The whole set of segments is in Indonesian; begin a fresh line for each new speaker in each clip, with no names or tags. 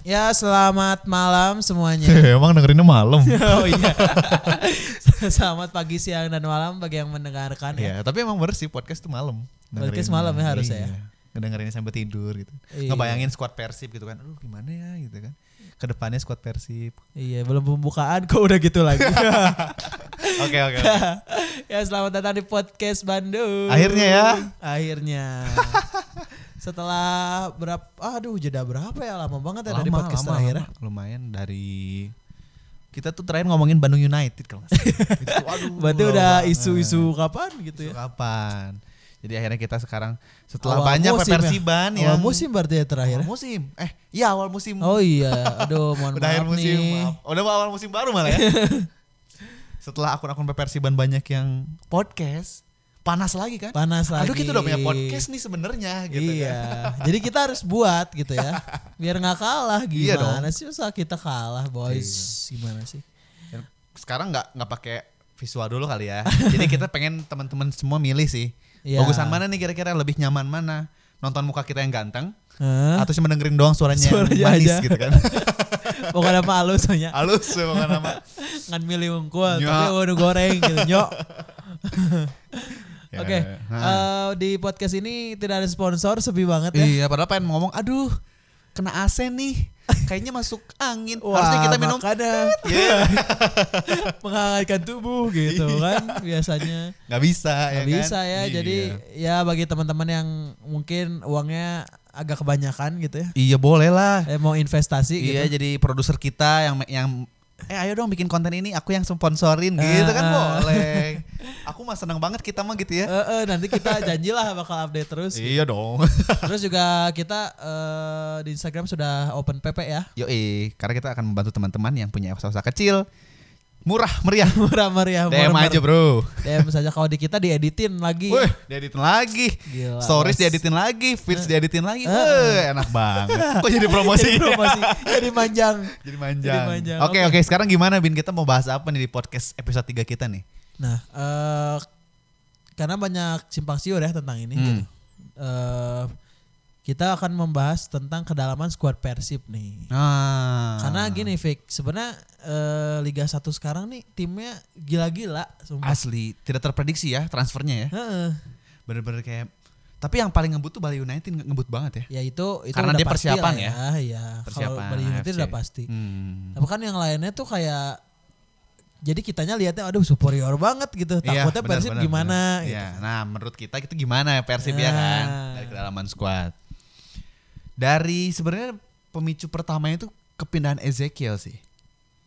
Ya selamat malam semuanya.
Iya, Emang dengerinnya malam.
oh iya. selamat pagi, siang dan malam bagi yang mendengarkan ya.
Iya, tapi emang bener sih podcast tuh malam.
Podcast malam ya harusnya ya.
Ngedengerinnya sampai tidur gitu.
Iya.
Ngebayangin squad Persib gitu kan. Aduh gimana ya gitu kan. Kedepannya squad Persib.
Iya belum pembukaan kok udah gitu lagi.
Oke oke. oke.
ya selamat datang di podcast Bandung.
Akhirnya ya.
Akhirnya. Setelah berapa? Aduh jeda berapa ya lama banget ya dari
Lama,
podcast
lama,
terakhir. ya.
lama. Lumayan dari kita tuh terakhir ngomongin Bandung United kalau nggak salah. Itu, aduh,
Berarti
lama
udah
banget.
isu-isu kapan gitu
Isu
ya?
kapan? Jadi akhirnya kita sekarang setelah
Awal
banyak
musim ya.
persiban
Awal musim berarti ya terakhir.
Awal musim. Eh, iya awal musim.
Oh iya, aduh mohon
udah akhir
maaf
musim.
nih.
Maaf. Udah mau awal musim baru malah ya. Setelah akun-akun Persiban banyak yang podcast, panas lagi kan?
Panas lagi.
Aduh, kita udah punya podcast nih sebenarnya gitu
iya.
kan.
Jadi kita harus buat gitu ya. Biar nggak kalah
Iya
gimana sih usaha kita kalah, boys. Gimana sih?
kan. Dan Sekarang nggak nggak pakai visual dulu kali ya. Jadi kita pengen teman-teman semua milih sih.
Iya.
Bagusan mana nih kira-kira lebih nyaman mana? Nonton muka kita yang ganteng
Hah?
atau cuma dengerin doang suaranya,
Suaranya
yang manis
aja.
gitu kan.
Pokoknya malu soalnya
Halus bukan nama.
ngan milih unggul
Nyok.
tapi udah goreng gitu nyok.
Ya,
Oke,
nah.
eh, di podcast ini tidak ada sponsor, sepi banget ya.
Iya, padahal pengen ngomong, aduh, kena AC nih. Kayaknya masuk angin. Harusnya kita minum.
makanya
Iya.
menghangatkan tubuh gitu kan biasanya.
Nggak bisa ya
Nggak
kan?
bisa ya.
Iya.
Jadi ya bagi teman-teman yang mungkin uangnya agak kebanyakan gitu ya.
Iya, boleh lah.
Eh, mau investasi
Iya,
gitu.
jadi produser kita yang yang eh ayo dong bikin konten ini aku yang sponsorin gitu kan
Ah.
boleh. Aku mah senang banget kita mah gitu ya.
Eh, eh, nanti kita janjilah bakal update terus.
Iya dong.
Terus juga kita eh, di Instagram sudah open PP ya.
Yoi, karena kita akan membantu teman-teman yang punya usaha-usaha kecil. Murah, meriah.
Murah meriah.
DM
murah
aja, Bro.
meriah. DM saja kalau di kita dieditin lagi.
Wih, dieditin lagi.
Gila,
Stories
Mas.
dieditin lagi, feeds dieditin lagi.
Eh.
Wih, enak banget. Kok jadi promosi?
Jadi promosi, jadi manjang.
jadi manjang.
Jadi manjang,
Oke,
oke.
oke. Sekarang gimana Bin? Kita mau bahas apa nih di podcast episode 3 kita nih?
Nah, eh karena banyak simpang siur ya tentang ini.
Hmm.
gitu. Eh, kita akan membahas tentang kedalaman squad Persib nih.
Ah.
Karena gini Vic, sebenarnya eh, Liga 1 sekarang nih timnya gila-gila sumpah.
asli tidak terprediksi ya transfernya ya.
Heeh.
Bener-bener kayak tapi yang paling ngebut tuh Bali United nge- ngebut banget
Ya
ya.
itu itu
Karena
udah
dia
pasti
persiapan
lah
ya.
Iya. Kalau
Persiapan
Bali United
AFC.
udah pasti.
Hmm.
Tapi kan yang lainnya tuh kayak jadi kitanya lihatnya aduh superior banget gitu.
Iya,
Takutnya
bener,
Persib
bener,
gimana
bener.
gitu.
Iya. Nah, menurut kita itu gimana ya Persib ya
Ah.
kan dari kedalaman squad. Dari sebenarnya pemicu pertamanya itu kepindahan Ezekiel sih.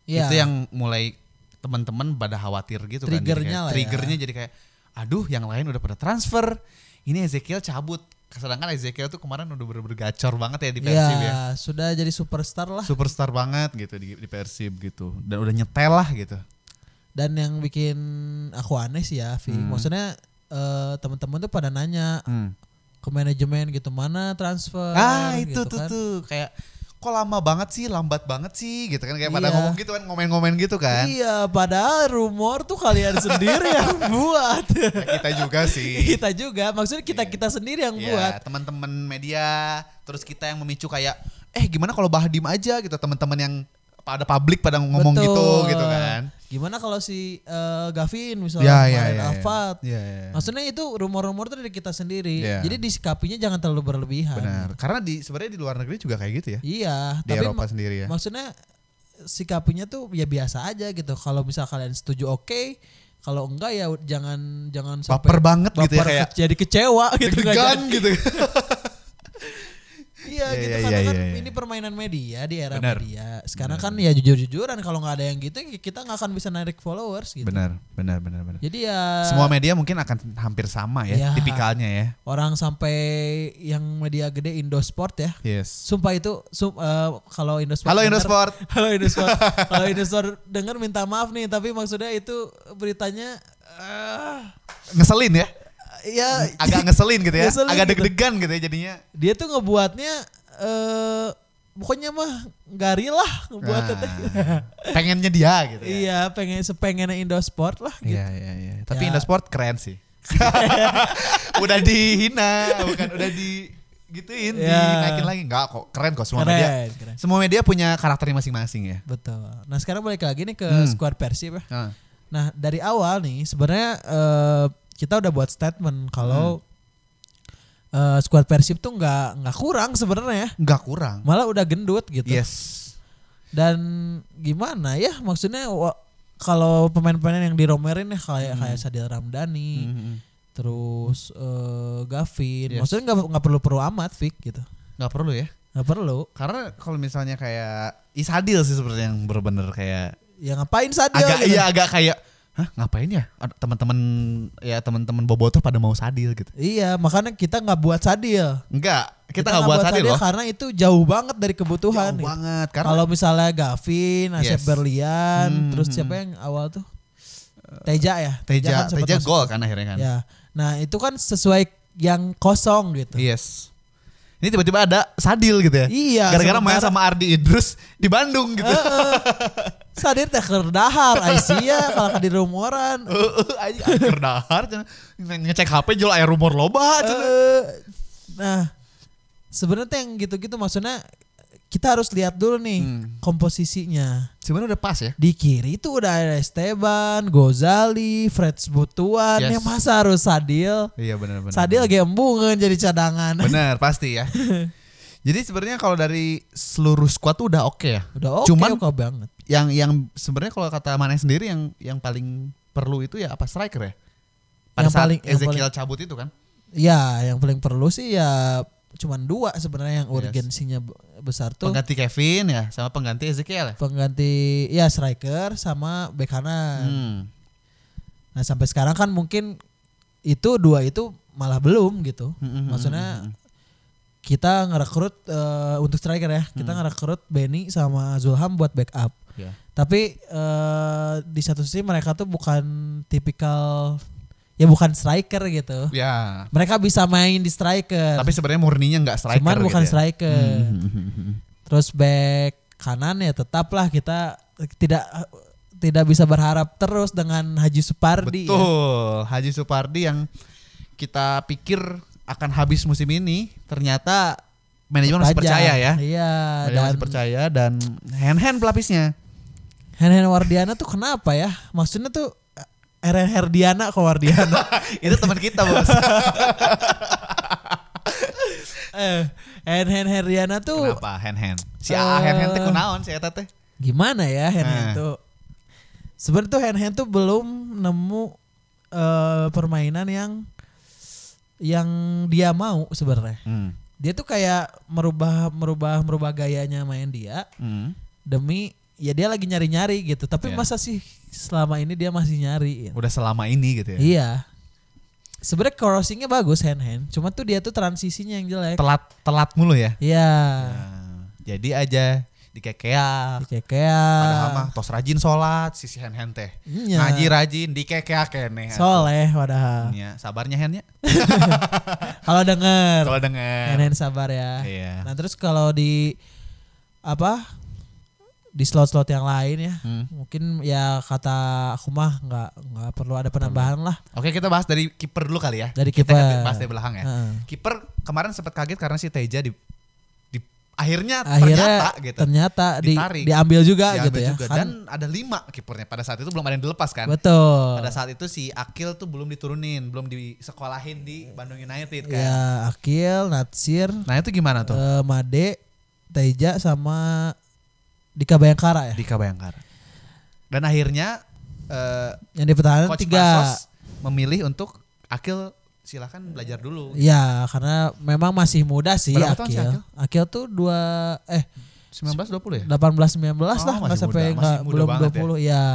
Iya.
Itu yang mulai teman-teman pada khawatir gitu kan. Jadi
Triggernya
kayak-
lah ya.
Triggernya jadi kayak aduh yang lain udah pada transfer. Ini Ezekiel cabut. Sedangkan Ezekiel tuh kemarin udah bener-bener gacor banget ya di Persib ya.
Iya, sudah jadi superstar lah.
Superstar banget gitu di, di Persib gitu. Dan udah nyetel lah gitu.
Dan yang bikin aku aneh sih ya, Vi. Maksudnya eh, teman-teman tuh pada nanya
Hmm.
ke manajemen gitu mana transfer
Ah itu
gitu
tuh
kan.
tuh kayak kok lama banget sih, lambat banget sih gitu kan kayak pada
Iya.
ngomong gitu kan ngomen-ngomen gitu kan.
Iya, padahal rumor tuh kalian sendiri yang buat.
Ya, kita juga sih.
kita juga, maksudnya kita kita sendiri Iya, yang buat.
Iya, teman-teman media, terus kita yang memicu kayak eh gimana kalau Bahdim aja gitu teman-teman yang pada publik pada ngomong
Betul.
gitu gitu kan.
Gimana kalau si eh, Gavin misalnya
Ya ya
kemarin
ya.
Afat.
Ya, ya, ya.
Maksudnya itu rumor-rumor tuh dari kita sendiri.
Iya.
Jadi disikapinya jangan terlalu berlebihan.
Benar. Karena di sebenarnya di luar negeri juga kayak gitu ya.
Iya,
Di
tapi
Eropa sendiri ya.
maksudnya sikapinya tuh ya biasa aja gitu. Kalau misal kalian setuju oke, kalau enggak ya jangan jangan sampai
Baper banget gitu
baper
ya kayak
ke- jadi kecewa gitu nggak
degan
jadi.
gitu.
Iya
Iya,
gitu
iya,
karena
iya,
kan
iya, iya.
ini permainan media di era
Benar.
media. Sekarang kan ya jujur-jujuran kalau nggak ada yang gitu ya kita nggak akan bisa narik followers gitu.
Benar, benar, benar, benar.
Jadi ya
Semua media mungkin akan hampir sama ya,
Ya.
tipikalnya ya.
orang sampai yang media gede Indosport ya.
Yes.
Sumpah itu sum- eh, kalau Indosport
Halo
denger-
Indosport.
Halo Indosport. Kalau Indosport dengar minta maaf nih, tapi maksudnya itu beritanya eh,
Ngeselin ya.
ya
Agak ngeselin gitu ya.
Ngeselin
Agak
gitu.
deg-degan gitu ya jadinya.
dia tuh ngebuatnya eh pokoknya mah nggak rela lah ngebuatnya. teh.
Nah, pengennya dia gitu ya.
Iya, pengen sepengennya Indosport lah gitu.
Iya, iya, iya.
Ya.
Tapi Indosport keren sih. udah dihina, bukan udah di digituin,
Ya.
dinaikin lagi. Enggak kok, keren kok semua media.
Keren, keren.
Semua media punya karakternya masing-masing ya.
Betul. Nah sekarang balik lagi nih ke
Hmm.
squad Persib ya.
Heeh.
Nah dari awal nih sebenarnya eh, kita udah buat statement kalau eh, squad Persib tuh nggak nggak kurang sebenarnya,
Enggak kurang.
malah udah gendut gitu.
Yes.
Dan gimana ya maksudnya wa- kalau pemain-pemain yang diromerin ya
Hmm.
kayak kayak Sadil Ramdhani,
Mhm.
terus eh, Gavin,
Yes.
maksudnya nggak nggak perlu perlu amat Vic gitu,
Enggak perlu ya.
nggak perlu.
Karena kalau misalnya kayak Isadil sih sebenarnya yang bener-bener kayak
Ya ngapain Sadil?
agak
gitu.
iya agak kayak Hah, ngapain ya? Ada Teman-teman ya teman-teman bobotoh pada mau sadil gitu.
Iya, makanya kita nggak buat Sadil.
Enggak, kita nggak buat sadil loh.
karena itu jauh banget dari kebutuhan.
Jauh
gitu.
banget karena
Kalau misalnya Gavin, Asep
Yes.
Berlian,
Hmm,
terus
hmm,
siapa yang awal tuh? Teja ya.
Teja
kan sempat
Teja
masuk.
gol kan akhirnya kan.
Ya. Nah, itu kan sesuai yang kosong gitu.
Yes. Ini tiba-tiba ada sadil gitu ya.
Iya,
Gara-gara main
sementara- Eh.
sama Ardi Idrus di Bandung gitu.
Sadir teh kerdahar, Aisyah kalau ke di rumoran.
Heeh, Eh, anjing angker dahar cenah. ngecek HP jual air rumor loba cenah.
Eh, nah, sebenarnya teh yang gitu-gitu maksudnya kita harus lihat dulu nih
Hmm.
komposisinya.
Sebenarnya udah pas ya.
di kiri itu udah ada Esteban, Gozali, Fred Butuan
Yes.
yang masa harus Sadil.
Iya benar-benar.
Sadil lagi embungan jadi cadangan.
Bener pasti ya. Jadi sebenarnya kalau dari seluruh squad tuh udah oke ya.
Udah oke
Cuman-
oke banget.
Yang yang sebenarnya kalau kata Mane sendiri yang yang paling perlu itu ya apa striker ya.
Yang
Pada saat
paling- yang
Ezekiel cabut itu kan.
Ya, yang paling perlu sih ya cuman dua sebenarnya yang urgensinya be- besar tuh
Pengganti Kevin ya sama pengganti Ezekiel ya.
pengganti ya striker sama bek kanan.
Hmm.
Nah, sampai sekarang kan mungkin itu dua itu malah belum gitu.
Hmm,
Maksudnya kita ngerekrut eh, untuk striker ya. Kita
Hmm.
ngerekrut Benny sama Zulham buat backup.
Ya.
Tapi eh di satu sisi mereka tuh bukan tipikal ya bukan striker gitu.
Ya.
Mereka bisa main di striker.
Tapi sebenarnya murninya nggak striker
cuman
gitu
bukan
ya.
striker.
Hmm.
Terus back kanan ya tetaplah kita tidak tidak bisa berharap terus dengan Haji Supardi. ya.
Betul. Haji Supardi yang kita pikir akan habis musim ini ternyata manajemen masih
Tajam.
percaya ya.
Iya,
Manajemen
dan
masih percaya dan hand-hand pelapisnya.
Henen Wardiana tuh kenapa ya? Maksudnya tuh Heren Herdiana ke Wardiana.
Itu teman kita, Bos.
eh, Henen Herdiana tuh
Kenapa hand-hand? Si AA
Eh.
hand-hand teh kunaon si eta teh?
gimana ya hand hand
Nah.
tuh sebenarnya tuh hand hand tuh belum nemu eh, permainan yang yang dia mau sebenarnya
Hmm.
dia tuh kayak merubah merubah merubah gayanya main dia
Hmm.
demi ya dia lagi nyari nyari gitu tapi
Iya.
masa sih selama ini dia masih nyari
Udah selama ini gitu ya.
iya sebenarnya crossingnya bagus hand hand cuma tuh dia tuh transisinya yang jelek
Telat telat mulu ya.
iya
Nah, jadi aja Ah. dikekeak. Padahal mah
kayak
tos rajin sholat sisi hand-hand teh.
Iya.
Ngaji rajin dikekeak keneh.
soleh padahal
Ya, sabarnya handnya.
kalau denger
Kalau dengar.
Nenen sabar ya.
Iya.
Nah terus kalau di apa di slot-slot yang lain ya,
Hmm.
mungkin ya kata aku mah nggak nggak perlu ada penambahan lah
Oke kita bahas dari kiper dulu kali ya.
dari Ah.
kita
kita.
kan bahas dari belakang ya.
Heeh.
Kiper kemarin sempat kaget karena si Teja di, di akhirnya,
Akhirnya
ternyata gitu.
ternyata di,
Ditarik.
diambil juga
diambil
gitu ya.
juga.
Kan,
Dan ada lima kipernya pada saat itu belum ada yang dilepas kan.
betul.
Pada saat itu si Akil tuh belum diturunin, belum disekolahin di Bandung United kan.
Ya Akil, Natsir,
Nah itu gimana tuh
eh, Made, Teja sama Dika Bayangkara ya.
di Kabayangkara? Eh. Dan akhirnya eh,
Yang di pertahanan
Coach
tiga.
Pasos memilih untuk Akil silahkan belajar dulu.
Ya karena memang masih muda sih
Berapa tahun
Akil.
sih
Akil. tuh dua eh
19-20 ya?
18 19 lah
Oh,
nggak
masih
sampai
muda,
nggak
masih muda
belum
banget
20 ya.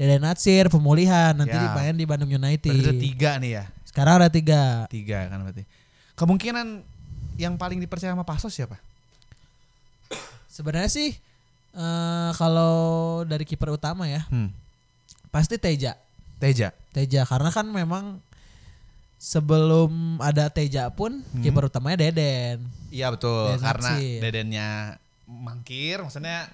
Dede Natsir pemulihan nanti
Ya.
dimain di Bandung
Berarti
United.
ada tiga nih ya?
Sekarang ada tiga
Tiga kan berarti. Kemungkinan yang paling dipercaya sama Pasos siapa?
Sebenarnya sih eh, kalau dari kiper utama ya
Hmm.
pasti Teja.
Teja.
Teja karena kan memang sebelum ada Teja pun
Hmm.
kiper utamanya Deden.
Iya betul.
Deden
karena
Natsir.
dedennya mangkir, maksudnya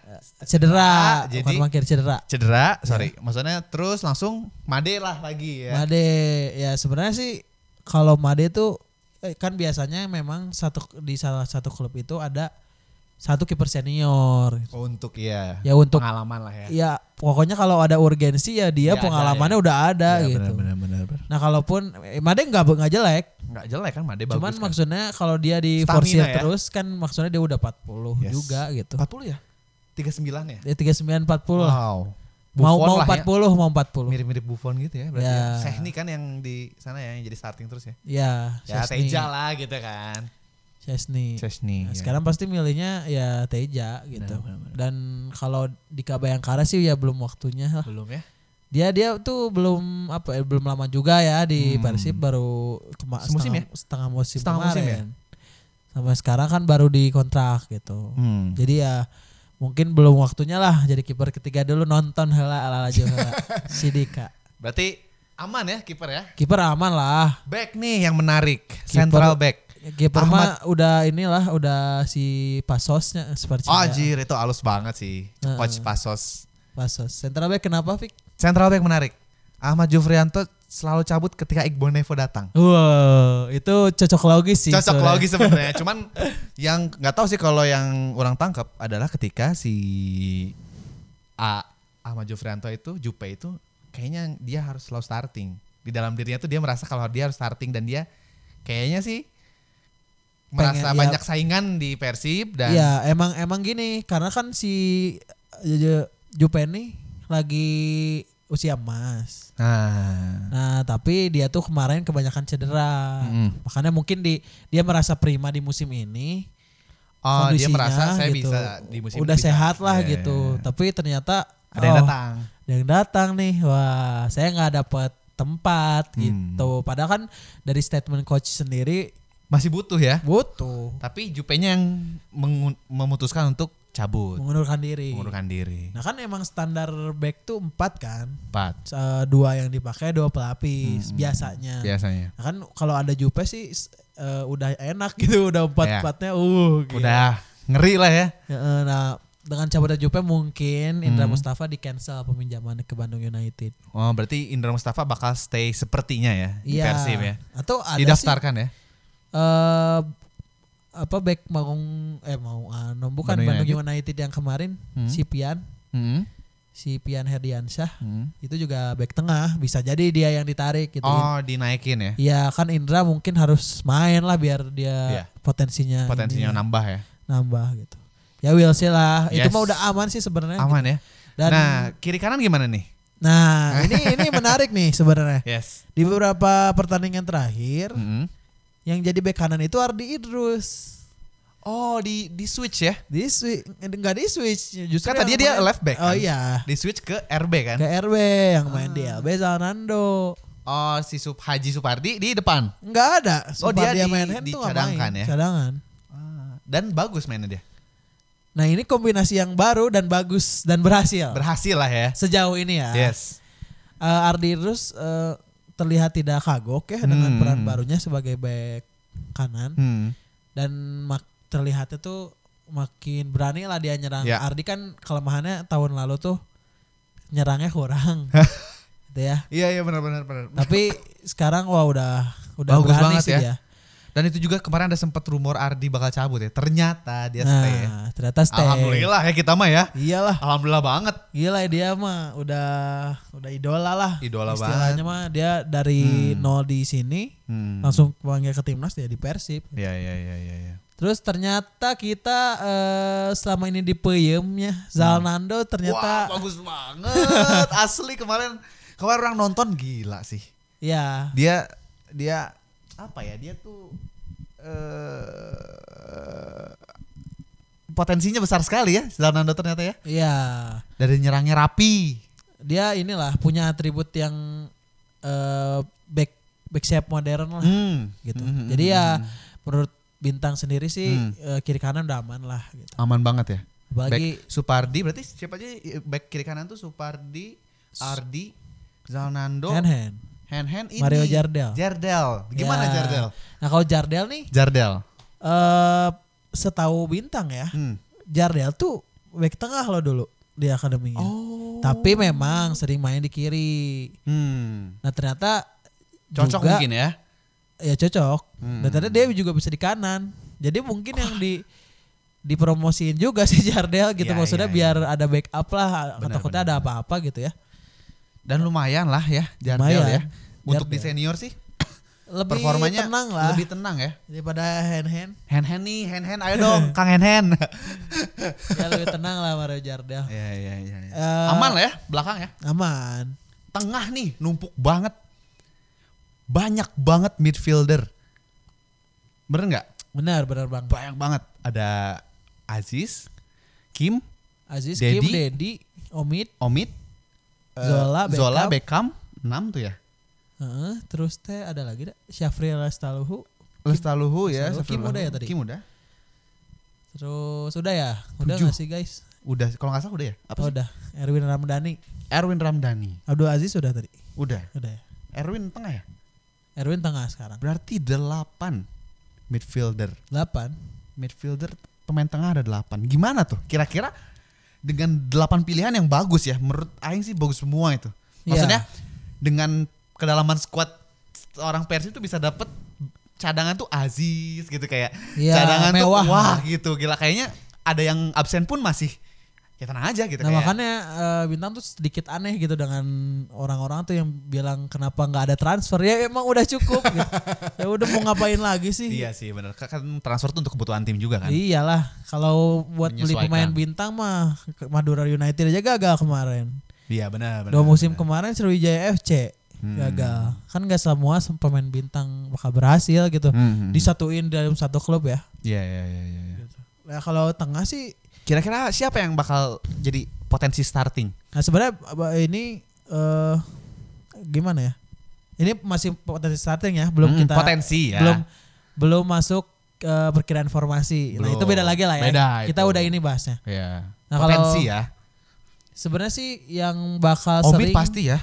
Cedera,
Cedera,
bukan
Ah, jadi-
mangkir cedera.
cedera, sorry. Maksudnya terus langsung Made lah lagi ya.
Made ya sebenarnya sih kalau Made tuh eh, kan biasanya memang satu di salah satu klub itu ada satu kiper senior.
Oh, untuk ya.
Ya untuk
pengalaman lah ya.
ya pokoknya kalau ada urgensi ya dia
Ya, ada,
pengalamannya udah ada gitu.
Iya, Benar benar benar.
Nah kalaupun eh, Made nggak nggak jelek,
Enggak jelek kan Made
cuman
bagus.
maksudnya kalau dia di
Stamina
forsir
ya.
terus kan maksudnya dia udah 40
Yes.
juga gitu.
kan. 40 ya? 39 ya?
Ya 39 40 lah.
Wow.
Mau
Buffon
mau
lah
40,
ya.
mau 40.
Mirip-mirip Buffon gitu ya berarti.
Ya.
Ya. Sehni kan yang di sana ya yang jadi starting terus ya.
Ya,
Ya
Szczesny.
Teja lah gitu kan.
Szczesny.
Chesney. ya.
Nah, Sekarang pasti milihnya ya Teja gitu. Dan kalau di Kabayangkara sih ya belum waktunya lah.
belum ya.
Dia dia tuh belum apa eh, belum lama juga ya di
Hmm.
Persib baru kema-
Semusim ya?
setengah, setengah musim
Setengah musim ya?
kemarin. Sampai sekarang kan baru dikontrak gitu.
Hmm.
Jadi ya mungkin belum waktunya lah jadi kiper ketiga dulu nonton heula ala ala si Dika.
Berarti aman ya kiper ya.
Kiper aman lah. Ya,
Back nih yang menarik, central back.
Kiper mah udah inilah udah si Pasosnya seperti
Oh anjir itu halus banget sih. Coach Pasos.
Pasos. Central back kenapa Fik?
Central back menarik. Ahmad Jufrianto selalu cabut ketika Iqbal Nevo datang.
Wow, itu cocok logis sih.
Cocok
sebenarnya.
logis sebenarnya. Cuman yang nggak tahu sih kalau yang orang tangkap adalah ketika si A Ahmad Jufrianto itu Jupe itu kayaknya dia harus selalu starting. Di dalam dirinya tuh dia merasa kalau dia harus starting dan dia kayaknya sih merasa
Pengen, ya.
banyak saingan di Persib dan
Iya, emang emang gini karena kan si eh, Jupe nih lagi usia emas.
Nah.
Nah, tapi dia tuh kemarin kebanyakan cedera.
Mm.
Makanya mungkin di dia merasa prima di musim ini.
Oh, dia
kondisinya
merasa saya
gitu.
bisa di musim
Udah
ini bisa.
sehat lah
Iya.
gitu. Tapi ternyata
Ada yang
oh,
datang.
ada yang datang nih. Wah, saya nggak dapet tempat
Hmm.
gitu. Padahal kan dari statement coach sendiri
Masih butuh ya.
butuh
Tapi Jupenya yang mengu- memutuskan untuk cabut,
mengundurkan diri.
mengundurkan diri.
Nah kan emang standar back tuh empat kan,
Empat
Eh, dua yang dipakai dua
Hmm.
pelapis biasanya.
Iya. biasanya.
Nah, kan kalau ada Jupe sih s- eh, udah enak gitu, udah empat
Iya.
empatnya. Uh, gila.
Udah ngeri lah ya.
Ya, eh, Nah dengan cabutnya Jupe mungkin Indra
Hmm.
Mustafa di cancel peminjamannya ke Bandung United.
Oh, berarti Indra Mustafa bakal stay sepertinya ya di
Iya.
Persib ya.
Atau ada sih
Didaftarkan ya.
eh, apa back Maung eh mau Anom bukan
Bandung
Bandung United. yang kemarin
Hmm.
si Pian
Hmm.
si Pian Herdiansyah
Hmm.
itu juga back tengah bisa jadi dia yang ditarik gitu.
Oh, dinaikin ya.
Ya kan Indra mungkin harus main lah biar dia
Iya.
potensinya
Potensinya
ini
nambah ya.
nambah gitu. Ya will sih lah. Itu
Yes.
mah udah aman sih sebenarnya.
Aman ya.
Dan nah,
Nah, kiri kanan gimana nih?
ini ini menarik nih sebenarnya.
Yes.
Di beberapa pertandingan terakhir
Mm-mm.
yang jadi bek kanan itu Ardi Idrus.
Oh, di di switch ya.
Di switch enggak di switch justru
Kan
yang
tadi dia
main-
left back
Oh
kan?
iya.
Di switch ke RB kan?
Ke RW yang main di LB Zanando.
Oh, si Sup Haji Supardi di depan.
Enggak ada.
Oh,
Sumpah
dia di-
main hand tuh nggak
dicadangkan
main.
ya?
Cadangan.
Dan bagus mainnya dia.
Nah ini kombinasi yang baru dan bagus dan berhasil
Berhasil lah ya.
sejauh ini ya.
Yes.
Eh, Ardi Rus eh, terlihat tidak kagok ya dengan
Hmm.
peran barunya sebagai back kanan
Hmm.
dan mak- terlihatnya tuh makin berani lah dia nyerang.
Ya.
Ardi kan kelemahannya tahun lalu tuh nyerangnya kurang, gitu ya.
Iya iya benar benar benar.
Tapi sekarang wah udah udah
Bagus
berani
banget
sih
ya.
dia.
Dan itu juga kemarin ada sempat rumor Ardi bakal cabut ya. Ternyata dia
nah
stay. ya.
ternyata stay.
Alhamdulillah ya kita mah ya.
Iyalah.
Alhamdulillah banget.
Gila ya dia mah udah udah idola lah.
Idola
Istilahnya mah dia dari
Hmm.
nol di sini
Hmm.
langsung panggil ke timnas ya di Persib.
Iya iya iya iya. Ya.
Terus ternyata kita eh, selama ini di peyemnya Zalnando
Hmm. Wah
ternyata
bagus banget. Asli kemarin kemarin orang nonton gila sih.
ya
Dia dia apa ya dia tuh eh potensinya besar sekali ya Zalando ternyata ya
ya
dari nyerangnya rapi
dia inilah punya atribut yang eh, back back shape modern lah
Hmm.
gitu.
Hmm, hmm,
Jadi
hmm,
ya
hmm.
menurut bintang sendiri sih
Hmm.
eh, kiri kanan udah aman lah gitu.
aman banget ya.
Apalagi
back Supardi berarti siapa aja eh, back kiri kanan tuh Supardi, Ardi, Zalnando,
hand hand.
hand hand ini.
Mario Jardel.
Jardel. Gimana
Ya.
Jardel?
Nah kalau Jardel nih
Jardel.
eh setahu bintang ya
Hmm.
Jardel tuh back tengah loh dulu di akademinya.
Oh.
Tapi memang sering main di kiri.
Hmm.
Nah ternyata
Cocok
juga
mungkin ya.
ya cocok.
Hmm.
Dan ternyata dia juga bisa di kanan. Jadi mungkin yang di dipromosiin juga si Jardel gitu
Iya,
maksudnya
iya,
biar ada backup lah
Benar,
takutnya
benar,
ada apa-apa gitu ya.
Dan lumayan lah ya Jardel
Lumayan.
ya. Untuk di
Jardel.
senior sih
Lebih
performanya
tenang lah
lebih tenang ya.
daripada hand hand
Hand hand nih, hand hand ayo dong, Kang hand hand.
ya lebih tenang lah Mario Jardel.
Iya iya iya. iya.
Eh,
Aman lah ya belakang ya.
Aman.
Tengah nih numpuk banget. Banyak banget midfielder. Bener nggak?
Benar benar Bang.
Banyak banget. Ada Aziz, Kim,
Aziz
Dedi.
Kim Dedi Omid
Omid, eh,
Zola,
Zola, Beckham, 6 tuh ya.
Heeh, terus teh ada lagi dah Syafril Lestaluhu.
Lestaluhu ya.
Lestaluhu. Kim
Safrullah.
udah ya tadi?
Kim udah.
Terus udah ya? Udah
Tujuh.
nggak sih guys?
Udah, kalau nggak salah udah ya. Apa
Oh,
sih?
udah. Erwin Ramdhani.
Erwin Ramdhani.
Abdul Aziz udah tadi.
Udah.
Udah ya.
Erwin tengah ya.
Erwin tengah sekarang.
Berarti 8 midfielder.
8.
Midfielder pemain tengah ada 8. Gimana tuh? Kira-kira dengan 8 pilihan yang bagus ya. Menurut Aing sih bagus semua itu.
Iya.
Maksudnya dengan kedalaman squad seorang Persib itu bisa dapet cadangan tuh Aziz gitu kayak
Iya,
cadangan
mewah.
tuh wah gitu gila kayaknya ada yang absen pun masih ya tenang aja gitu
Nah
kayak
makanya eh, Bintang tuh sedikit aneh gitu dengan orang-orang tuh yang bilang kenapa nggak ada transfer ya emang udah cukup gitu. ya udah mau ngapain lagi sih Iya.
iya sih bener kan transfer tuh untuk kebutuhan tim juga kan
iyalah kalau buat beli
Menyesuaikan.
pemain bintang mah ke- Madura United aja gagal kemarin
iya benar benar
dua musim kemarin
benar. Hmm.
Sriwijaya FC gagal kan nggak semua sem- pemain bintang bakal berhasil gitu
Hmm, hmm, hmm.
disatuin dalam satu klub ya
Iya iya iya iya. iya.
Nah, kalau tengah sih
Kira-kira siapa yang bakal jadi potensi starting?
Nah sebenarnya ab- ini eh gimana ya? Ini masih potensi starting ya, belum
Hmm,
kita
potensi ya.
belum belum masuk eh, perkiraan formasi. Nah
Belum.
itu beda lagi lah ya.
Beda
kita
itu.
udah ini bahasnya.
Iya.
Nah,
potensi
kalau
ya.
Sebenarnya sih yang bakal sering
Omid pasti ya.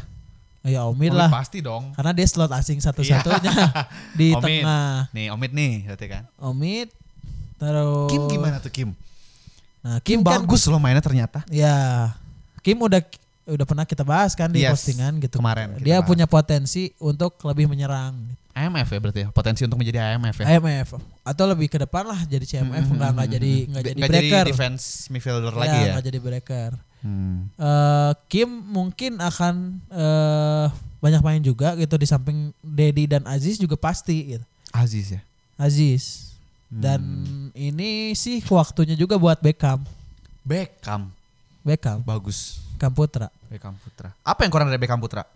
ya Omid
Omid
lah.
pasti dong.
Karena dia slot asing satu-satunya di
Omid.
tengah.
Nih Omid nih berarti kan.
Omid terus
Kim gimana tuh Kim?
Nah,
Kim
Oh. Kim, kan-
bagus loh mainnya ternyata.
Ya, Kim udah udah pernah kita bahas kan di
Yes,
postingan gitu.
kemarin kita
Dia
bahas.
punya potensi untuk lebih menyerang.
IMF ya berarti ya. Potensi untuk menjadi IMF ya.
IMF atau lebih ke depan lah jadi CMF nggak nggak jadi nggak jadi
Nggak
breaker
defense midfielder
Ya,
lagi ya.
nggak jadi breaker
Hmm.
Eh, Kim mungkin akan eh, banyak main juga gitu di samping Dedi dan Aziz juga pasti gitu.
Aziz ya.
Aziz dan
Hmm.
ini sih waktunya juga buat Beckham
Beckham
Beckham
bagus.
Beckham Putra
Beckham Putra. Apa yang kurang dari Beckham Putra?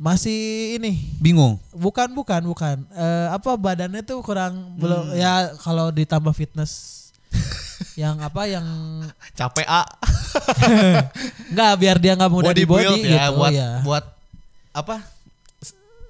masih ini
Bingung.
bukan bukan bukan Eh, apa badannya tuh kurang belum
Hmm.
ya kalau ditambah fitness yang apa yang
Capek ah.
Enggak biar dia nggak mudah di body
build ya
gitu
buat
ya.
buat apa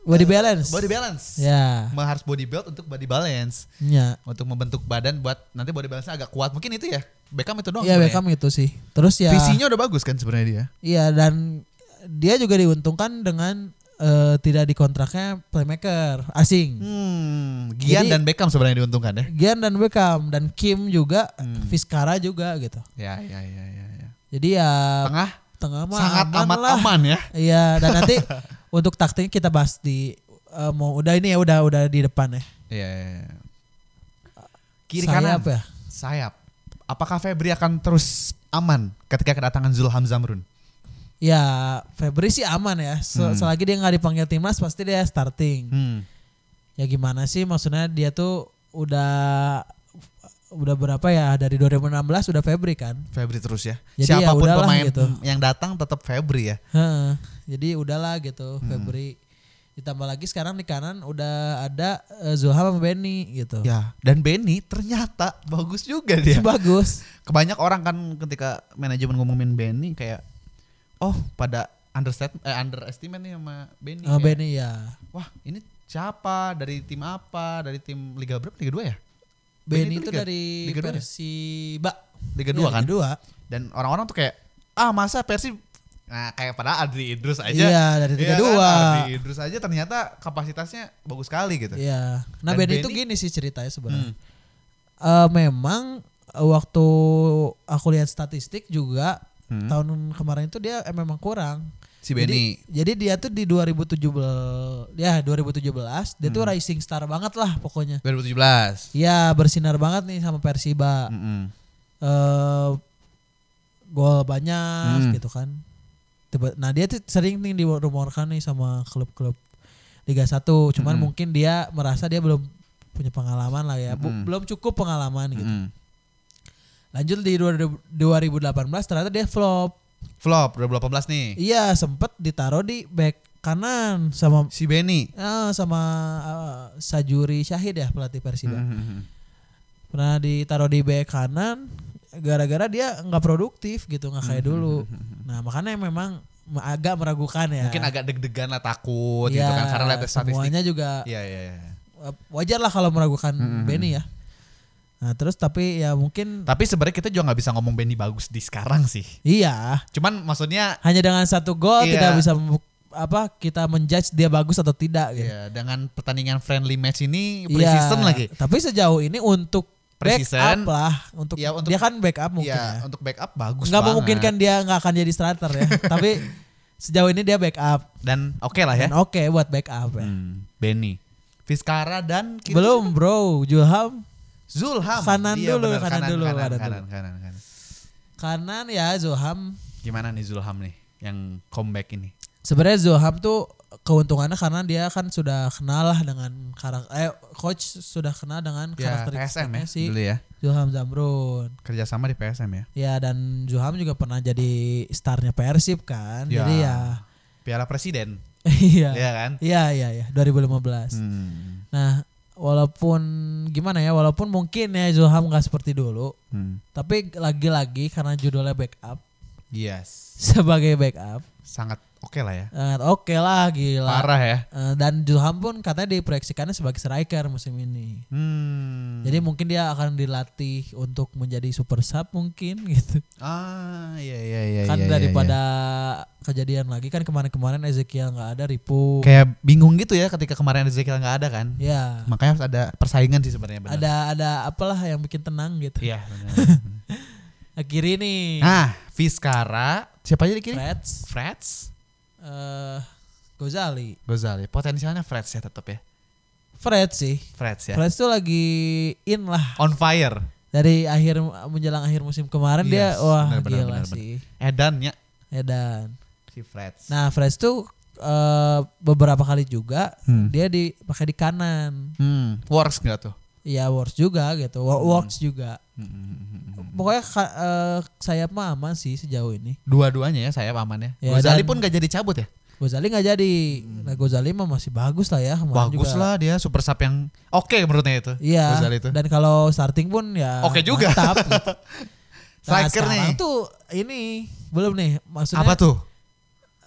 Body balance.
body balance
Ya.
Emang harus body build untuk body balance
Ya.
untuk membentuk badan buat nanti body balance agak kuat mungkin itu ya Beckham itu doang
Iya
sebenarnya.
Beckham itu sih. Terus ya
visinya udah bagus kan sebenarnya dia
Iya dan dia juga diuntungkan dengan eh, tidak dikontraknya playmaker asing.
hmm Gian
Jadi-
dan Beckham sebenarnya diuntungkan ya
Gian dan Beckham dan Kim juga,
Hmm.
Vizcara juga gitu.
ya ya ya ya, ya.
Jadi ya
tengah
tengah mah
sangat
aman
amat
lah.
aman ya
Iya dan nanti untuk taktiknya kita bahas di eh, mau udah ini ya udah udah di depan ya.
Iya, iya, iya. kiri
Sayap
kanan
ya?
sayap apakah Febri akan terus aman ketika kedatangan Zulham Zamrun
Ya Febri sih aman ya. Se- Selagi dia nggak dipanggil timnas pasti dia starting.
hmm.
Ya gimana sih maksudnya dia tuh udah udah berapa ya dari 2016 udah Febri kan.
Febri terus ya
Jadi ya
siapapun
udahlah
pemain
gitu.
yang datang tetap Febri ya
Heeh. Jadi udahlah gitu
Hmm.
Febri. Ditambah lagi sekarang di kanan udah ada eh, Zulham sama Benny gitu.
Ya, dan Benny ternyata bagus juga dia.
Bagus.
Kebanyak orang kan ketika manajemen ngomongin Benny kayak oh, pada understatement eh, underestimate nih sama Benny.
Sama
Kayak,
Benny ya.
Wah, ini siapa? Dari tim apa? Dari tim Liga berapa? Liga 2 ya? Benny
Benny
itu
itu
Liga-
dari
Liga dua ya?
Persiba.
Liga
Ya,
2 kan?
Dua.
Dan orang-orang tuh kayak ah, masa Persib Nah, kayak pada Adri Idrus aja.
Iya, dari Liga
kan?
dua.
Adri Idrus aja ternyata kapasitasnya bagus sekali gitu.
Iya. Nah
Dan
Benny itu
Benny-
gini sih ceritanya sebenarnya.
Hmm.
Eh, memang eh, waktu aku lihat statistik juga
Hmm.
tahun kemarin itu dia eh, memang kurang.
si Benny.
Jadi dia tuh di 2017 ya 2017 dia tuh
Hmm.
rising star banget lah pokoknya.
2017.
Iya bersinar banget nih sama Persiba.
Mm-mm.
eh gol banyak
Hmm.
gitu kan. Tiba, nah dia tuh sering nih dirumorkan nih sama klub-klub Liga 1. Cuman
Mm-mm.
mungkin dia merasa dia belum punya pengalaman lah ya. Bu-
Mm-mm.
Belum cukup pengalaman gitu.
Mm-mm.
Lanjut di 2018 ternyata dia flop.
Flop 2018 nih.
Iya sempet ditaruh di back kanan sama
Si Benny.
ah, sama ah, Sajuri Syahid ya pelatih Persiba.
Hmm. Mm-hmm.
Mm-mm.
pernah ditaruh di bek kanan gara-gara dia nggak produktif gitu nggak
Hmm,
kayak dulu nah makanya memang me- agak meragukan ya Iya,
Mungkin agak deg-degan lah takut gitu kan karena lihat statistik.
semuanya juga
Iya Hmm, iya iya.
eh, wajar lah kalau meragukan Benny ya nah terus tapi ya mungkin
Tapi sebenarnya kita juga nggak bisa ngomong Benny bagus di sekarang sih.
iya
Cuman maksudnya
hanya dengan satu gol
Iya.
tidak bisa mem- apa kita menjudge dia bagus atau tidak gitu
ya dengan pertandingan friendly match ini
Iya,
pre-season lagi.
tapi sejauh ini untuk backup
Pre-season.
lah untuk,
Iya, untuk-
dia kan backup mungkin ya
Iya, untuk backup
nggak
bagus banget.
memungkinkan dia nggak akan jadi starter ya tapi sejauh ini dia backup
dan oke lah ya. Hmm.
dan oke buat backup ya
Mm.
Benny, Fiskara dan kita-
belum bro Julham
Zulham.
Kanan
Iya,
dulu,
benar,
kanan dulu,
kanan,
kanan
kanan,
dulu.
kanan, kanan.
kanan ya Zulham
Gimana nih Zulham nih yang comeback ini?
sebenarnya Zulham tuh keuntungannya karena dia kan sudah kenal lah dengan karakter eh coach sudah kenal dengan
Ya,
karakter
PSM ya
si
dulu ya.
Zulham Zamrun
Kerjasama di PSM ya.
ya dan Zulham juga pernah jadi starnya Persib kan
Ya.
jadi ya
Piala Presiden,
iya
iya kan?
iya iya iya 2015
Hmm.
Nah, walaupun gimana ya, walaupun mungkin ya Zulham nggak seperti dulu,
Hmm.
tapi lagi-lagi karena judulnya backup
Yes.
sebagai backup,
Sangat oke lah ya.
eh, oke lah gila.
Parah ya.
Eh, dan Zulham pun katanya diproyeksikannya sebagai striker musim ini.
Hmm.
Jadi mungkin dia akan dilatih untuk menjadi super sub mungkin gitu.
ah iya iya iya
kan
iya, iya,
daripada
iya.
kejadian lagi kan kemarin-kemarin Ezekiel nggak ada ribu.
kayak bingung gitu ya ketika kemarin Ezekiel nggak ada kan.
Ya.
Makanya harus ada persaingan sih sebenarnya benar.
Ada ada apalah yang bikin tenang gitu.
Iya. benar.
Akhiri nih.
nah, Fiskara, siapa aja di kiri?
Freds.
Freds.
eh Gozali.
Gozali, potensialnya Freds ya tetap ya.
Fred sih.
Freds ya.
Fred tuh lagi in lah
On fire.
dari akhir menjelang akhir musim kemarin
Yes,
dia wah
benar, benar,
gila
benar,
sih.
Edan ya
Edan.
si Freds.
Nah, Fred tuh eh, beberapa kali juga
Hmm.
dia dipakai di kanan.
Hmm.
Works nggak tuh?
Ya works juga gitu. Wo- Works juga.
Hmm.
Pokoknya ka- eh, sayap mah aman sih sejauh ini.
Dua-duanya ya saya pamannya.
Ya,
Gozali
dan-
pun gak jadi cabut ya.
Gozali nggak jadi. Nah, Gozali mah masih bagus lah ya. kemarin
Hmm. Bagus
juga.
lah dia super sub yang oke menurutnya itu.
Iya.
Gozali itu.
Dan kalau starting pun ya
Oke juga.
Mantap. gitu. Nah,
Striker nih.
sekarang tuh ini belum nih maksudnya
Apa tuh?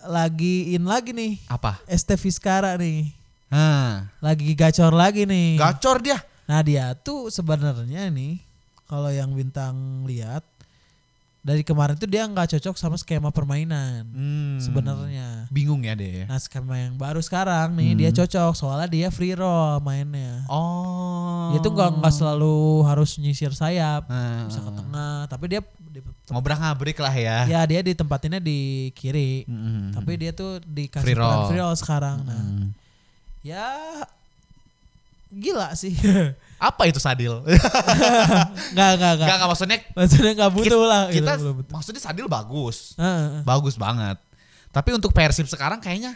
lagi in lagi nih
Apa?
ST Vizcara nih
Hah.
lagi gacor lagi nih
Gacor dia.
nah dia tuh sebenarnya nih kalau yang bintang lihat dari kemarin tuh dia nggak cocok sama skema permainan
Hmm.
sebenarnya
Bingung ya dia. ya.
nah skema yang baru sekarang nih
Hmm.
dia cocok soalnya dia free roll mainnya
Oh.
dia tuh nggak nggak selalu harus nyisir sayap
Nah,
bisa ke tengah tapi dia di-
ngobrak ngabrik lah ya.
ya dia ditempatinnya di kiri
Mm-mm.
tapi dia tuh dikasih
Hmm. Free
peran
roll.
free roll sekarang nah
Hmm.
ya gila sih
Apa itu sadil?
nggak nggak
Gak,
nggak
gak maksudnya
maksudnya nggak butuh lah gitu,
kita
belum butuh.
maksudnya sadil bagus.
Heeh.
Bagus banget. Tapi untuk Persib sekarang kayaknya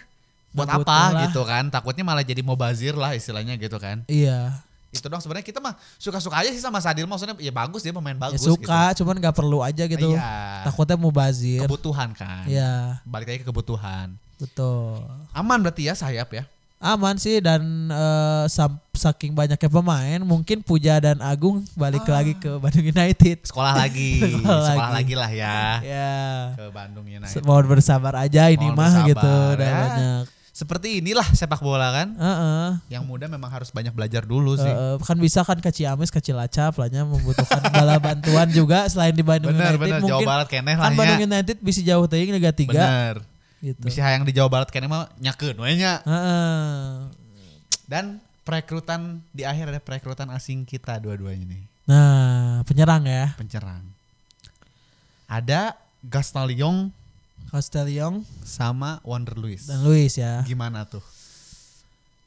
buat
Nggak
apa
butuh lah.
gitu kan? Takutnya malah jadi mubazir lah istilahnya gitu kan.
iya
Itu dong sebenarnya kita mah suka-suka aja sih sama Sadil maksudnya ya bagus dia pemain
ya
bagus
suka cuman nggak perlu aja gitu
Iya.
takutnya mau bazir
Kebutuhan kan.
Iya
Balik lagi ke kebutuhan.
betul
Aman berarti ya sayap ya.
aman sih dan eh, sam- saking banyaknya pemain mungkin Puja dan Agung balik
Ah.
lagi ke Bandung United
Sekolah lagi.
Sekolah
Sekolah
lagi.
lagi lah ya.
ya
Ke Bandung United.
se- mohon bersabar aja ini
Mohon
mah
bersabar,
gitu udah
ya.
banyak
Seperti inilah sepak bola kan.
Heeh.
Yang muda memang harus banyak belajar dulu sih.
Eh, kan bisa kan ke Ciamis ke Cilacap lahnya membutuhkan bala bantuan juga selain di Bandung United
bener bener Jawa
mungkin
Barat keneh
kan
lah
Bandung
nya.
United bisa jauh teuing Liga 3
Bener.
gitu.
Bisa yang di Jawa Barat keneh mah nyakeun we nya.
Heeh.
Dan perekrutan di akhir ada perekrutan asing kita dua-duanya nih.
Nah, penyerang ya.
Pencerang. Ada Gaston Lyon
Castellion
sama Wonder Luis.
dan Luis ya.
Gimana tuh?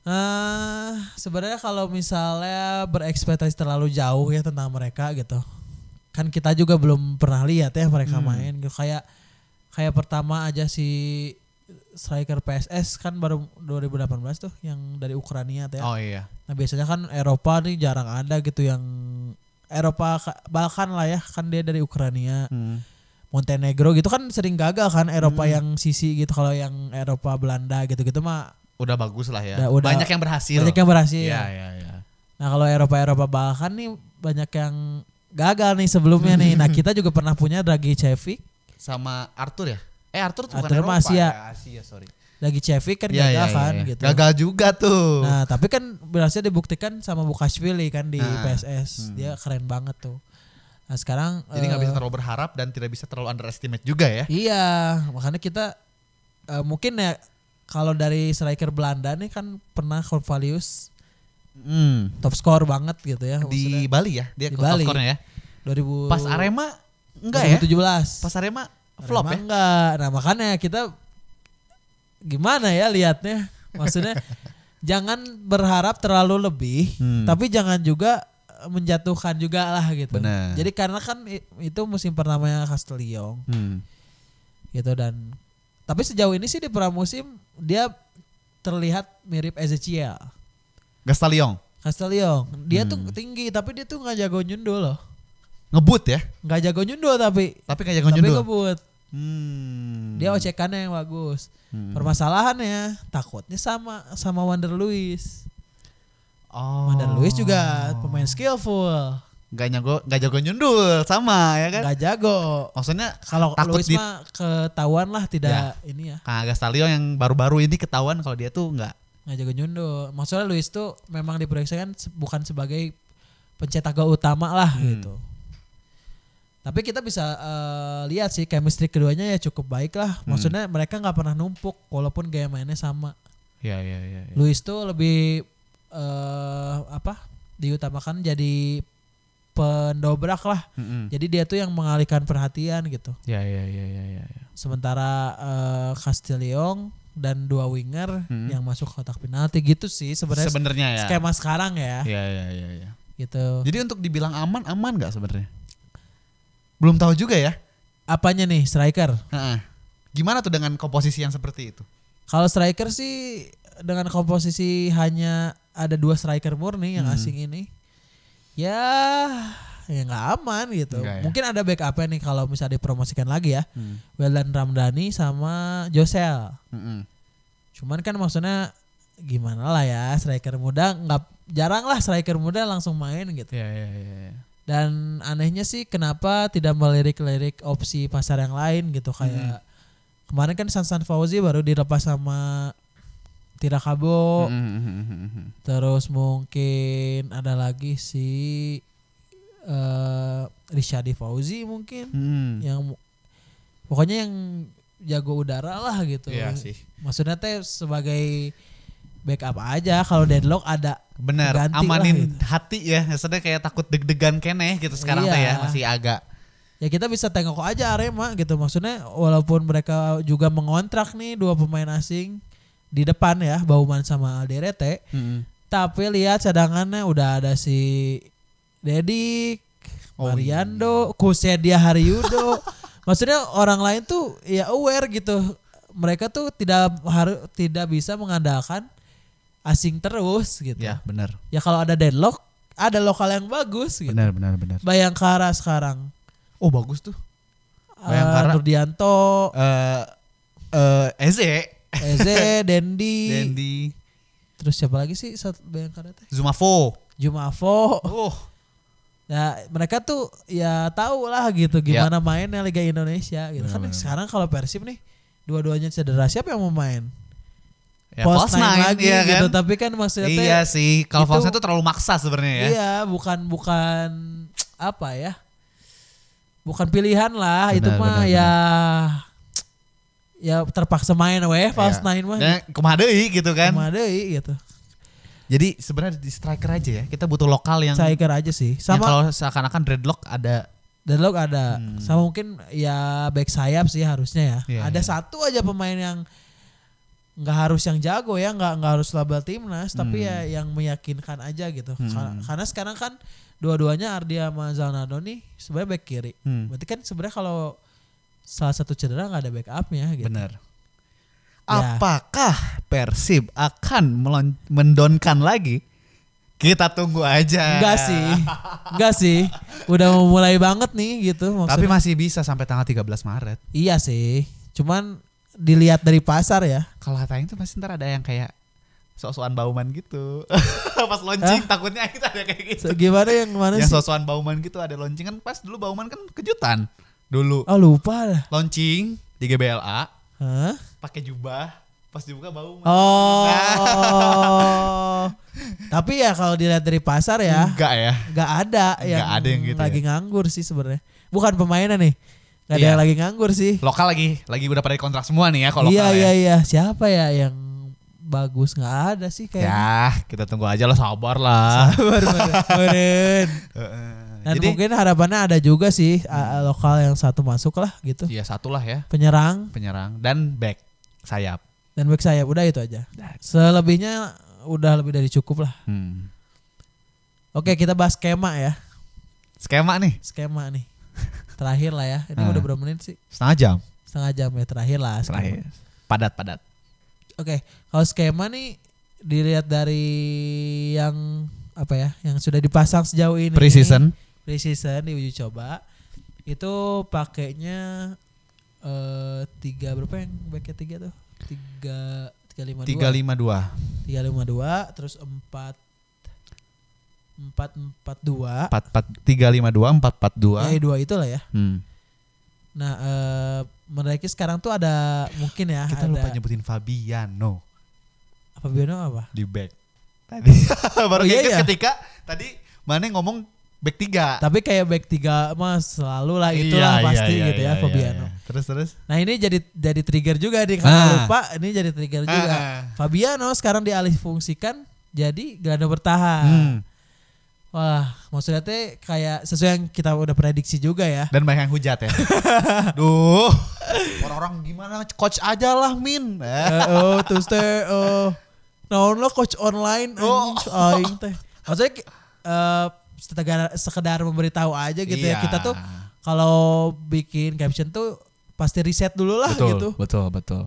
eh sebenarnya kalau misalnya berekspektasi terlalu jauh ya tentang mereka gitu. Kan kita juga belum pernah lihat ya mereka
Hmm.
main gitu. Kayak kayak pertama aja si striker PSS kan baru 2018 tuh yang dari Ukraina tuh ya.
Oh iya.
Nah, biasanya kan Eropa nih jarang ada gitu yang Eropa ka- Balkan lah ya, kan dia dari Ukraina.
Hmm.
Montenegro gitu kan sering gagal kan Eropa
Hmm.
yang sisi gitu kalau yang Eropa Belanda gitu-gitu mah
Udah bagus lah ya.
Udah- udah-
banyak yang berhasil.
banyak yang berhasil.
Iya, iya, iya.
Nah kalau Eropa Eropa Balkan nih banyak yang gagal nih sebelumnya nih. Nah kita juga pernah punya Dragicevic,
Sama Arthur ya? Eh Arthur tuh bukan
Arthur mah
Eropa
Asia.
ya, Asia, sorry.
Dragicevic kan
Iya,
gagal
iya,
kan
iya.
gitu.
Gagal juga tuh.
Nah tapi kan berhasil dibuktikan sama Bukashvili kan di
Nah,
PSS. Dia keren banget tuh. Nah sekarang
hmm. Jadi nggak
eh,
bisa terlalu berharap dan tidak bisa terlalu underestimate juga ya.
Iya, makanya kita eh, mungkin ya kalau dari striker Belanda nih kan pernah Cornelius
Hmm.
top score banget gitu ya
Di Bali ya, dia
Di
top
Bali.
scorenya ya.
2000
Pas Arema enggak ya?
2017.
Pas Arema flop
Arema
ya.
Enggak. Nah, makanya kita gimana ya liatnya? Maksudnya jangan berharap terlalu lebih,
Hmm.
tapi jangan juga menjatuhkan juga lah gitu.
Benar.
Jadi karena kan i- itu musim pertamanya Castellion.
Hmm.
gitu dan tapi sejauh ini sih di pramusim dia terlihat mirip Ezekiel
Gastalion.
Castellion dia tuh
Hmm.
tinggi tapi dia tuh nggak jago nyundul loh
Ngebut ya,
nggak jago nyundul tapi
tapi kayak jago
tapi
nyundul.
ngebut
Hmm.
dia ocekannya yang bagus
Hmm.
permasalahannya takutnya sama sama Wander Luis
Oh.
Wander Luis juga pemain skillful
Gak jago, gak jago nyundul sama ya kan?
nggak jago
Maksudnya
kalau
Takut
Luis
di-
mah ketahuan lah tidak ini ya
Kang Agastalio ah, yang baru-baru ini ketahuan kalau dia tuh nggak
nggak jago nyundul. Maksudnya Luis tuh memang diproyeksikan se- bukan sebagai pencetak gol utama lah
Hmm.
gitu. Tapi kita bisa eh, lihat sih chemistry keduanya ya cukup baik lah.
Hmm.
Maksudnya mereka nggak pernah numpuk walaupun gaya mainnya sama.
Iya
Ya,
iya iya. iya.
Luis tuh lebih eh apa? diutamakan jadi pendobrak lah.
Mm-mm.
Jadi dia tuh yang mengalihkan perhatian gitu.
Ya,
Iya iya iya iya. iya.
Sementara eh Castellion dan dua winger yang masuk kotak penalti gitu sih sebenarnya
Hmm. Sebenarnya ya.
skema sekarang ya
Iya iya iya. iya.
gitu
Jadi untuk dibilang aman aman nggak sebenarnya?
Belum tahu juga ya.
apanya nih striker
Heeh.
Gimana tuh dengan komposisi yang seperti itu?
kalau striker sih dengan komposisi hanya ada dua striker murni
Hmm.
yang asing ini ya ya nggak aman gitu
Nggak ya.
mungkin ada backupnya nih kalau misalnya dipromosikan lagi ya
Hmm.
Weldan Ramdhani sama Josel
Mm-mm.
cuman kan maksudnya gimana lah ya striker muda nggak jarang lah striker muda langsung main gitu
Iya iya iya. iya.
Dan anehnya sih kenapa tidak melirik-lirik opsi pasar yang lain gitu
Hmm.
kayak kemarin kan Sansan Fauzi baru dilepas sama
Hmm,
Oh. Hmm.
Tirakabo,
Mm-mm.
terus mungkin ada lagi si eh Rishadi Fauzi mungkin
Hmm.
Mm.
yang mu- pokoknya yang jago udara lah gitu.
Iya sih.
Maksudnya teh sebagai backup aaja kalau deadlock ada
Benar,
Ganti lah
amanin
gitu.
hati ya. Maksudnya kayak takut deg-degan keneh gitu sekarang
Iya.
teh ya, masih agak
ya kita bisa tengok aja Arema gitu maksudnya walaupun mereka juga mengontrak nih dua pemain asing di depan ya Bauman sama Alderete
Mm-mm.
tapi lihat cadangannya udah ada si Dedik, Mariando, Kusedia Hariudo. maksudnya orang lain tuh ya aware gitu. Mereka tuh tidak harus tidak bisa mengandalkan asing terus gitu.
ya, benar.
Ya kalau ada deadlock, ada lokal yang bagus gitu.
Benar benar benar.
Bayangkara sekarang
Oh, bagus tuh. Bayangkara.
Bayangkara. Nurdianto,
Eh eh Eze,
Eze, Dendi,
Dendi,
terus siapa lagi sih satu Bayangkara teh?
Zumafo.
Jumafo.
Oh,
Ya mereka tuh ya tahu lah gitu gimana mainnya Liga Indonesia gitu. kan sekarang kalau Persib nih dua-duanya cedera siapa yang mau main?
ya,
False nine lagi
ya
gitu.
kan?
Tapi kan maksudnya teh,
Iya sih, kalau
itu-
false nine tuh terlalu maksa sebenarnya ya.
iya bukan bukan apa ya? Bukan pilihan lah itu
Benar,
mah
benar,
ya ya terpaksa main weh false
Iya.
nine mah.
Dan kumaha deui gitu kan.
Cuma deui gitu.
Jadi sebenarnya di striker aja ya. Kita butuh lokal yang
striker aja sih. Sama
yang kalau seakan-akan dreadlock ada
Deadlock ada.
Hmm.
Sama mungkin ya back sayap sih harusnya ya.
Iya,
ada
iya.
satu aja pemain yang nggak harus yang jago ya, nggak nggak harus label timnas, tapi ya
Hmm.
yang meyakinkan aja gitu. Kar- Karena sekarang kan dua-duanya Ardia sama Zalnado nih sebenarnya back kiri.
Hmm.
Berarti kan sebenarnya kalau salah satu cedera nggak ada backupnya gitu.
Bener.
Ya.
Apakah Persib akan melon- mendonkan lagi? Kita tunggu aja.
Enggak sih, enggak sih. Udah mau mulai banget nih gitu
Tapi
maksudnya.
masih bisa sampai tanggal 13 Maret.
iya sih, cuman dilihat dari pasar ya.
Kalau tayang tuh pasti ntar ada yang kayak sok-sokan bauman gitu. Pas launching takutnya kita ada kayak gitu.
So, gimana yang mana
yang
sih?
sok-sokan bauman gitu ada launching kan pas dulu bauman kan kejutan. Dulu
Oh lupa lah.
launching di GBLA
Hah?
pakai jubah pas dibuka bauman.
Oh. Tapi ya kalau dilihat dari pasar ya,
Enggak ya.
nggak ada yang,
Nggak ada yang gitu
lagi nganggur sih sebenarnya. Bukan pemainnya nih. Gak ada
Iya.
yang lagi nganggur sih.
Lokal lagi lagi udah pada kontrak semua nih ya kalau
Iya
lokal ya.
iya iya. Siapa ya yang bagus nggak ada sih kayaknya.
Ya, kita tunggu aja lah sabar lah.
Baru- baru- baruin. Dan
Jadi
mungkin harapannya ada juga sih a- a- lokal yang satu masuk lah gitu.
ya satu lah ya
Penyerang
penyerang dan back sayap.
dan back sayap udah itu aja. Selebihnya udah lebih dari cukup lah.
Hmm.
Oke, kita bahas skema ya.
Skema nih
Skema nih. Terakhir lah ya. Ini
Ah.
udah berapa menit sih?
setengah jam.
Setengah jam ya terakhir lah. skema.
Terakhir. Padat padat.
Oke, kalau skema nih dilihat dari yang apa ya, yang sudah dipasang sejauh ini.
Pre-season.
Pre-season di uji coba. Itu pakainya eh tiga berapa yang backnya tiga tuh? Tiga tiga lima dua.
352
tiga lima dua terus empat empat empat dua
44 352
ya
442.
dua itulah ya
Hmm.
nah eh mereka sekarang tuh ada mungkin ya
Kita
ada
lupa nyebutin Fabiano
apa Biono apa
di back. Tadi
Oh,
baru
iya,
keinget
iya.
ketika tadi mana ngomong back 3.
tapi kayak back tiga mas selalu lah
Iya,
itulah pasti gitu ya Fabiano
Terus terus.
nah ini jadi jadi trigger juga nih karena
iya. Ah.
lupa ini jadi trigger juga
Ah.
Fabiano sekarang dialihfungsikan jadi gelandang bertahan
Hmm.
wah maksudnya teh kayak sesuai yang kita udah prediksi juga ya
Dan banyak yang hujat ya. Duh. Orang-orang gimana coach aja lah Min. Eh.
Eh, oh terus teh eh naon lo coach online
Oh.
anjing, aing teh maksudnya ki- eh sekedar sekedar memberitahu aja gitu ya
Iya.
kita tuh kalau bikin caption tuh pasti riset dulu lah
betul,
gitu
betul, betul.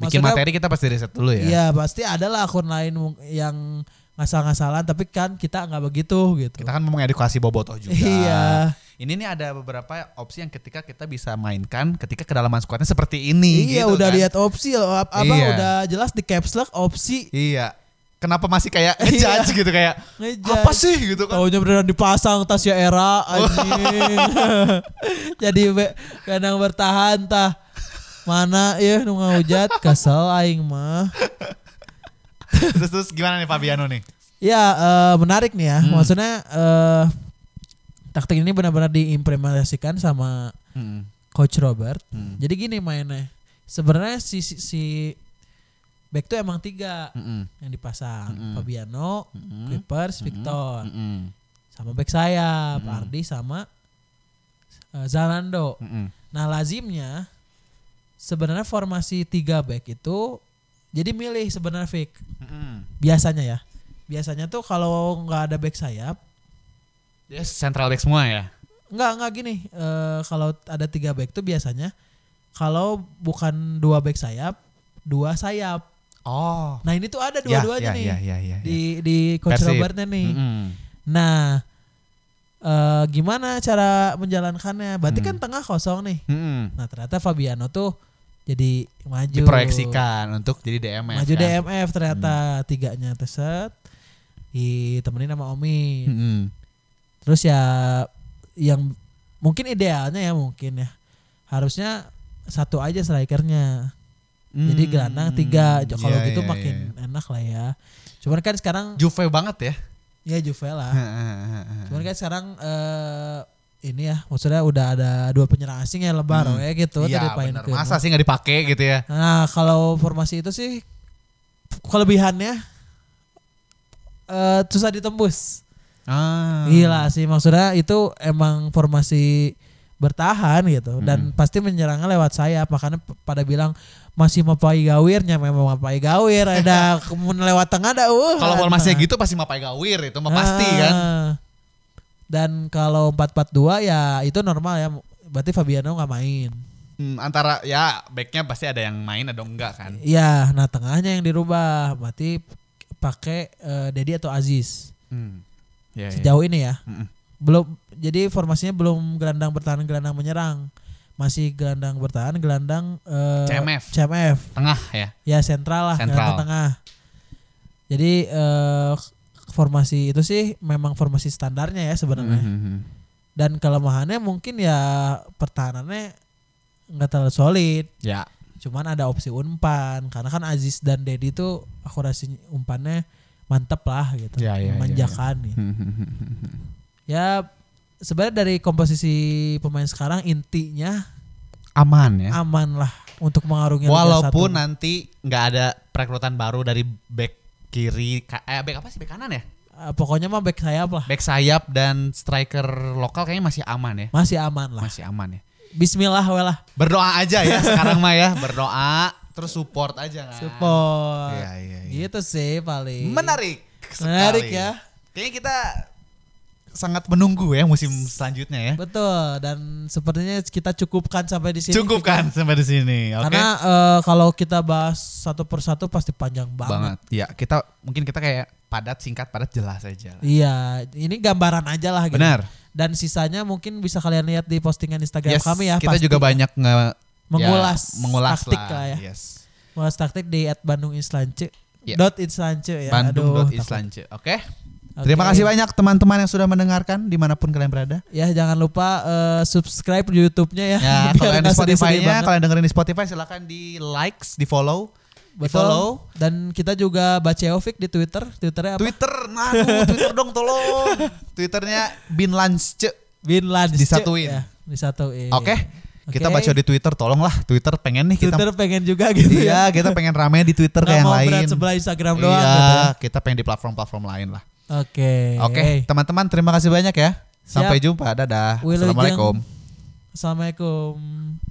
Bikin
Maksudnya-
materi kita pasti riset dulu ya.
iya pasti ada lah akun lain mung- yang ngasal-ngasalan tapi kan kita nggak begitu gitu
Kita kan mau mengedukasi bobotoh juga.
Iya.
Ini nih ada beberapa opsi yang ketika kita bisa mainkan ketika kedalaman squadnya seperti ini.
iya
gitu
udah
kan.
lihat opsi loh Ap- apa
Iya.
udah jelas di caps lock opsi
Iya. Kenapa masih kayak
Iya.
ngejudge gitu kayak
Ngejudge. Oh.
apa sih gitu kan?
Taunya beneran dipasang Tasya Era anjing. Jadi be- kadang bertahan tah. Mana ya nu ngahujat kesel aing mah.
terus terus gimana nih Fabiano nih?
Ya eh, menarik nih ya. Maksudnya eh, taktik ini benar-benar diimplementasikan sama
Hmm,
coach Robert. Jadi gini mainnya. Sebenarnya si si, si back tuh emang tiga
Mm-mm.
yang dipasang. Fabiano, Clippers, Victor.
Mm-mm.
sama back sayap Ardi sama eh, Zalando.
Mm-mm.
Nah lazimnya sebenarnya formasi tiga back itu jadi milih sebenarnya fake
Mm-mm.
biasanya ya. Biasanya tuh kalau nggak ada back sayap
Dia central back semua ya.
nggak nggak gini eh, kalau ada tiga back tuh biasanya kalau bukan dua back sayap dua sayap.
Oh.
Nah ini tuh ada
Ya,
dua-duanya
ya,
nih
ya, ya, ya, ya. Hmm,
di di coach
Persib.
Robertnya nih.
Mm-mm.
Nah, eh gimana cara menjalankannya?
Mm.
Berarti kan tengah kosong nih.
Mm-mm.
Nah, ternyata Fabiano tuh jadi maju.
Diproyeksikan untuk jadi DMF.
Maju
kan? Mm.
DMF ternyata tiganya teset. Ditemenin sama Omi.
Mm-mm.
Terus ya yang mungkin idealnya ya mungkin ya. Harusnya satu aja strikernya. Jadi
Mm.
gelandang tiga. Jo- Kalau
Iya,
gitu
iya,
makin
iya.
enak lah ya. Cuman kan sekarang
Juve banget ya.
ya Juve lah. Cuman kan sekarang eh ini ya maksudnya udah ada dua penyerang asing ya lebar ya gitu
Iya,
tadi Payan
bener.
Kuno.
Masa sih nggak dipakai gitu ya?
Nah, kalau formasi itu sih kelebihannya eh susah ditembus.
Ah. Iya
Iya Gila sih maksudnya itu emang formasi bertahan gitu dan pasti menyerangnya lewat sayap makanya p- pada bilang masih mapai gawirnya memang mapai gawir ada kemudian lewat tengah ada uh Ah.
Kalau formasinya gitu pasti Mapai Gawir itu mah pasti
Ah.
kan.
dan kalau 4-4-2 ya itu normal ya berarti Fabiano nggak main
Hmm, antara ya backnya pasti ada yang main atau enggak
Hmm.
kan.
Iya, nah tengahnya yang dirubah berarti pakai eh, Dedi atau Aziz
Hmm. Ya, ya.
sejauh ini ya.
Mm-mm.
Belum jadi formasinya belum gelandang bertahan gelandang menyerang. Masih gelandang bertahan gelandang eh,
CMF.
CMF.
Tengah ya.
Ya sentral lah
Sentral.
gelandang tengah. Jadi eh, formasi itu sih memang formasi standarnya ya sebenarnya.
Mhm.
Dan kelemahannya mungkin ya pertahanannya nggak terlalu solid.
Ya.
cuman ada opsi umpan karena kan Aziz dan Dedi tuh akurasi umpannya mantep lah gitu
Ya, ya, ya,
memanjakan ya, sebenarnya dari komposisi pemain sekarang intinya
Aman ya.
aman lah untuk mengarungi Liga
Walaupun
Satu.
nanti nggak ada perekrutan baru dari back kiri, ka- eh, back apa sih back kanan ya?
Eh, pokoknya mah back sayap lah
Back sayap dan striker lokal kayaknya masih aman ya.
masih aman lah
Masih Ah. aman ya.
Bismillah we lah
Berdoa aja ya sekarang mah ya, berdoa terus support aja kan.
support
Iya, iya, iya.
gitu sih paling
Menarik. sekali.
Menarik ya.
Kayaknya kita sangat menunggu ya musim selanjutnya ya.
betul dan sepertinya kita cukupkan sampai di sini
Cukup kan sampai di sini, oke?
karena eh, kalau kita bahas satu persatu pasti panjang banget.
banget. Ya, kita mungkin kita kayak padat singkat padat jelas aja lah.
Iya, ini gambaran aja lah gitu.
Benar.
Dan sisanya mungkin bisa kalian lihat di postingan Instagram
Yes,
kami ya.
kita
pasti ya.
juga banyak nge-
Mengulas
ya, mengulas
taktik
lah.
lah ya.
Yes.
Mengulas taktik di at Bandung Inslance.
Iya.
Dot Inslance ya.
Bandung
Aduh,
dot
takut.
Islance, oke?
Oke.
Terima kasih banyak teman-teman yang sudah mendengarkan dimanapun kalian berada.
Ya jangan lupa eh, subscribe di YouTube-nya ya.
Ya,
Biar
kalau yang di
nggak sedih-sedih
Spotify-nya,
banget.
kalian dengerin di Spotify silakan di likes, di follow, di
Betul.
follow.
Dan kita juga baca Eovic di Twitter. Twitternya apa?
Twitter, nah tuh, Twitter dong tolong. Twitternya Bin Lance.
Bin Lance. Ya,
Disatuin.
disatuin.
Oke. Kita
Oke.
baca di Twitter tolonglah. Twitter pengen nih kita
Twitter pengen juga gitu ya.
Iya, kita pengen rame di Twitter
Nggak
kayak yang
mau
lain.
berat sebelah Instagram
iya,
doang gitu ya.
kita pengen di platform-platform lain lah.
Oke.
Oke, teman-teman terima kasih banyak ya. Sampai jumpa. Dadah.
Wilujeng.
Assalamualaikum.
Assalamualaikum.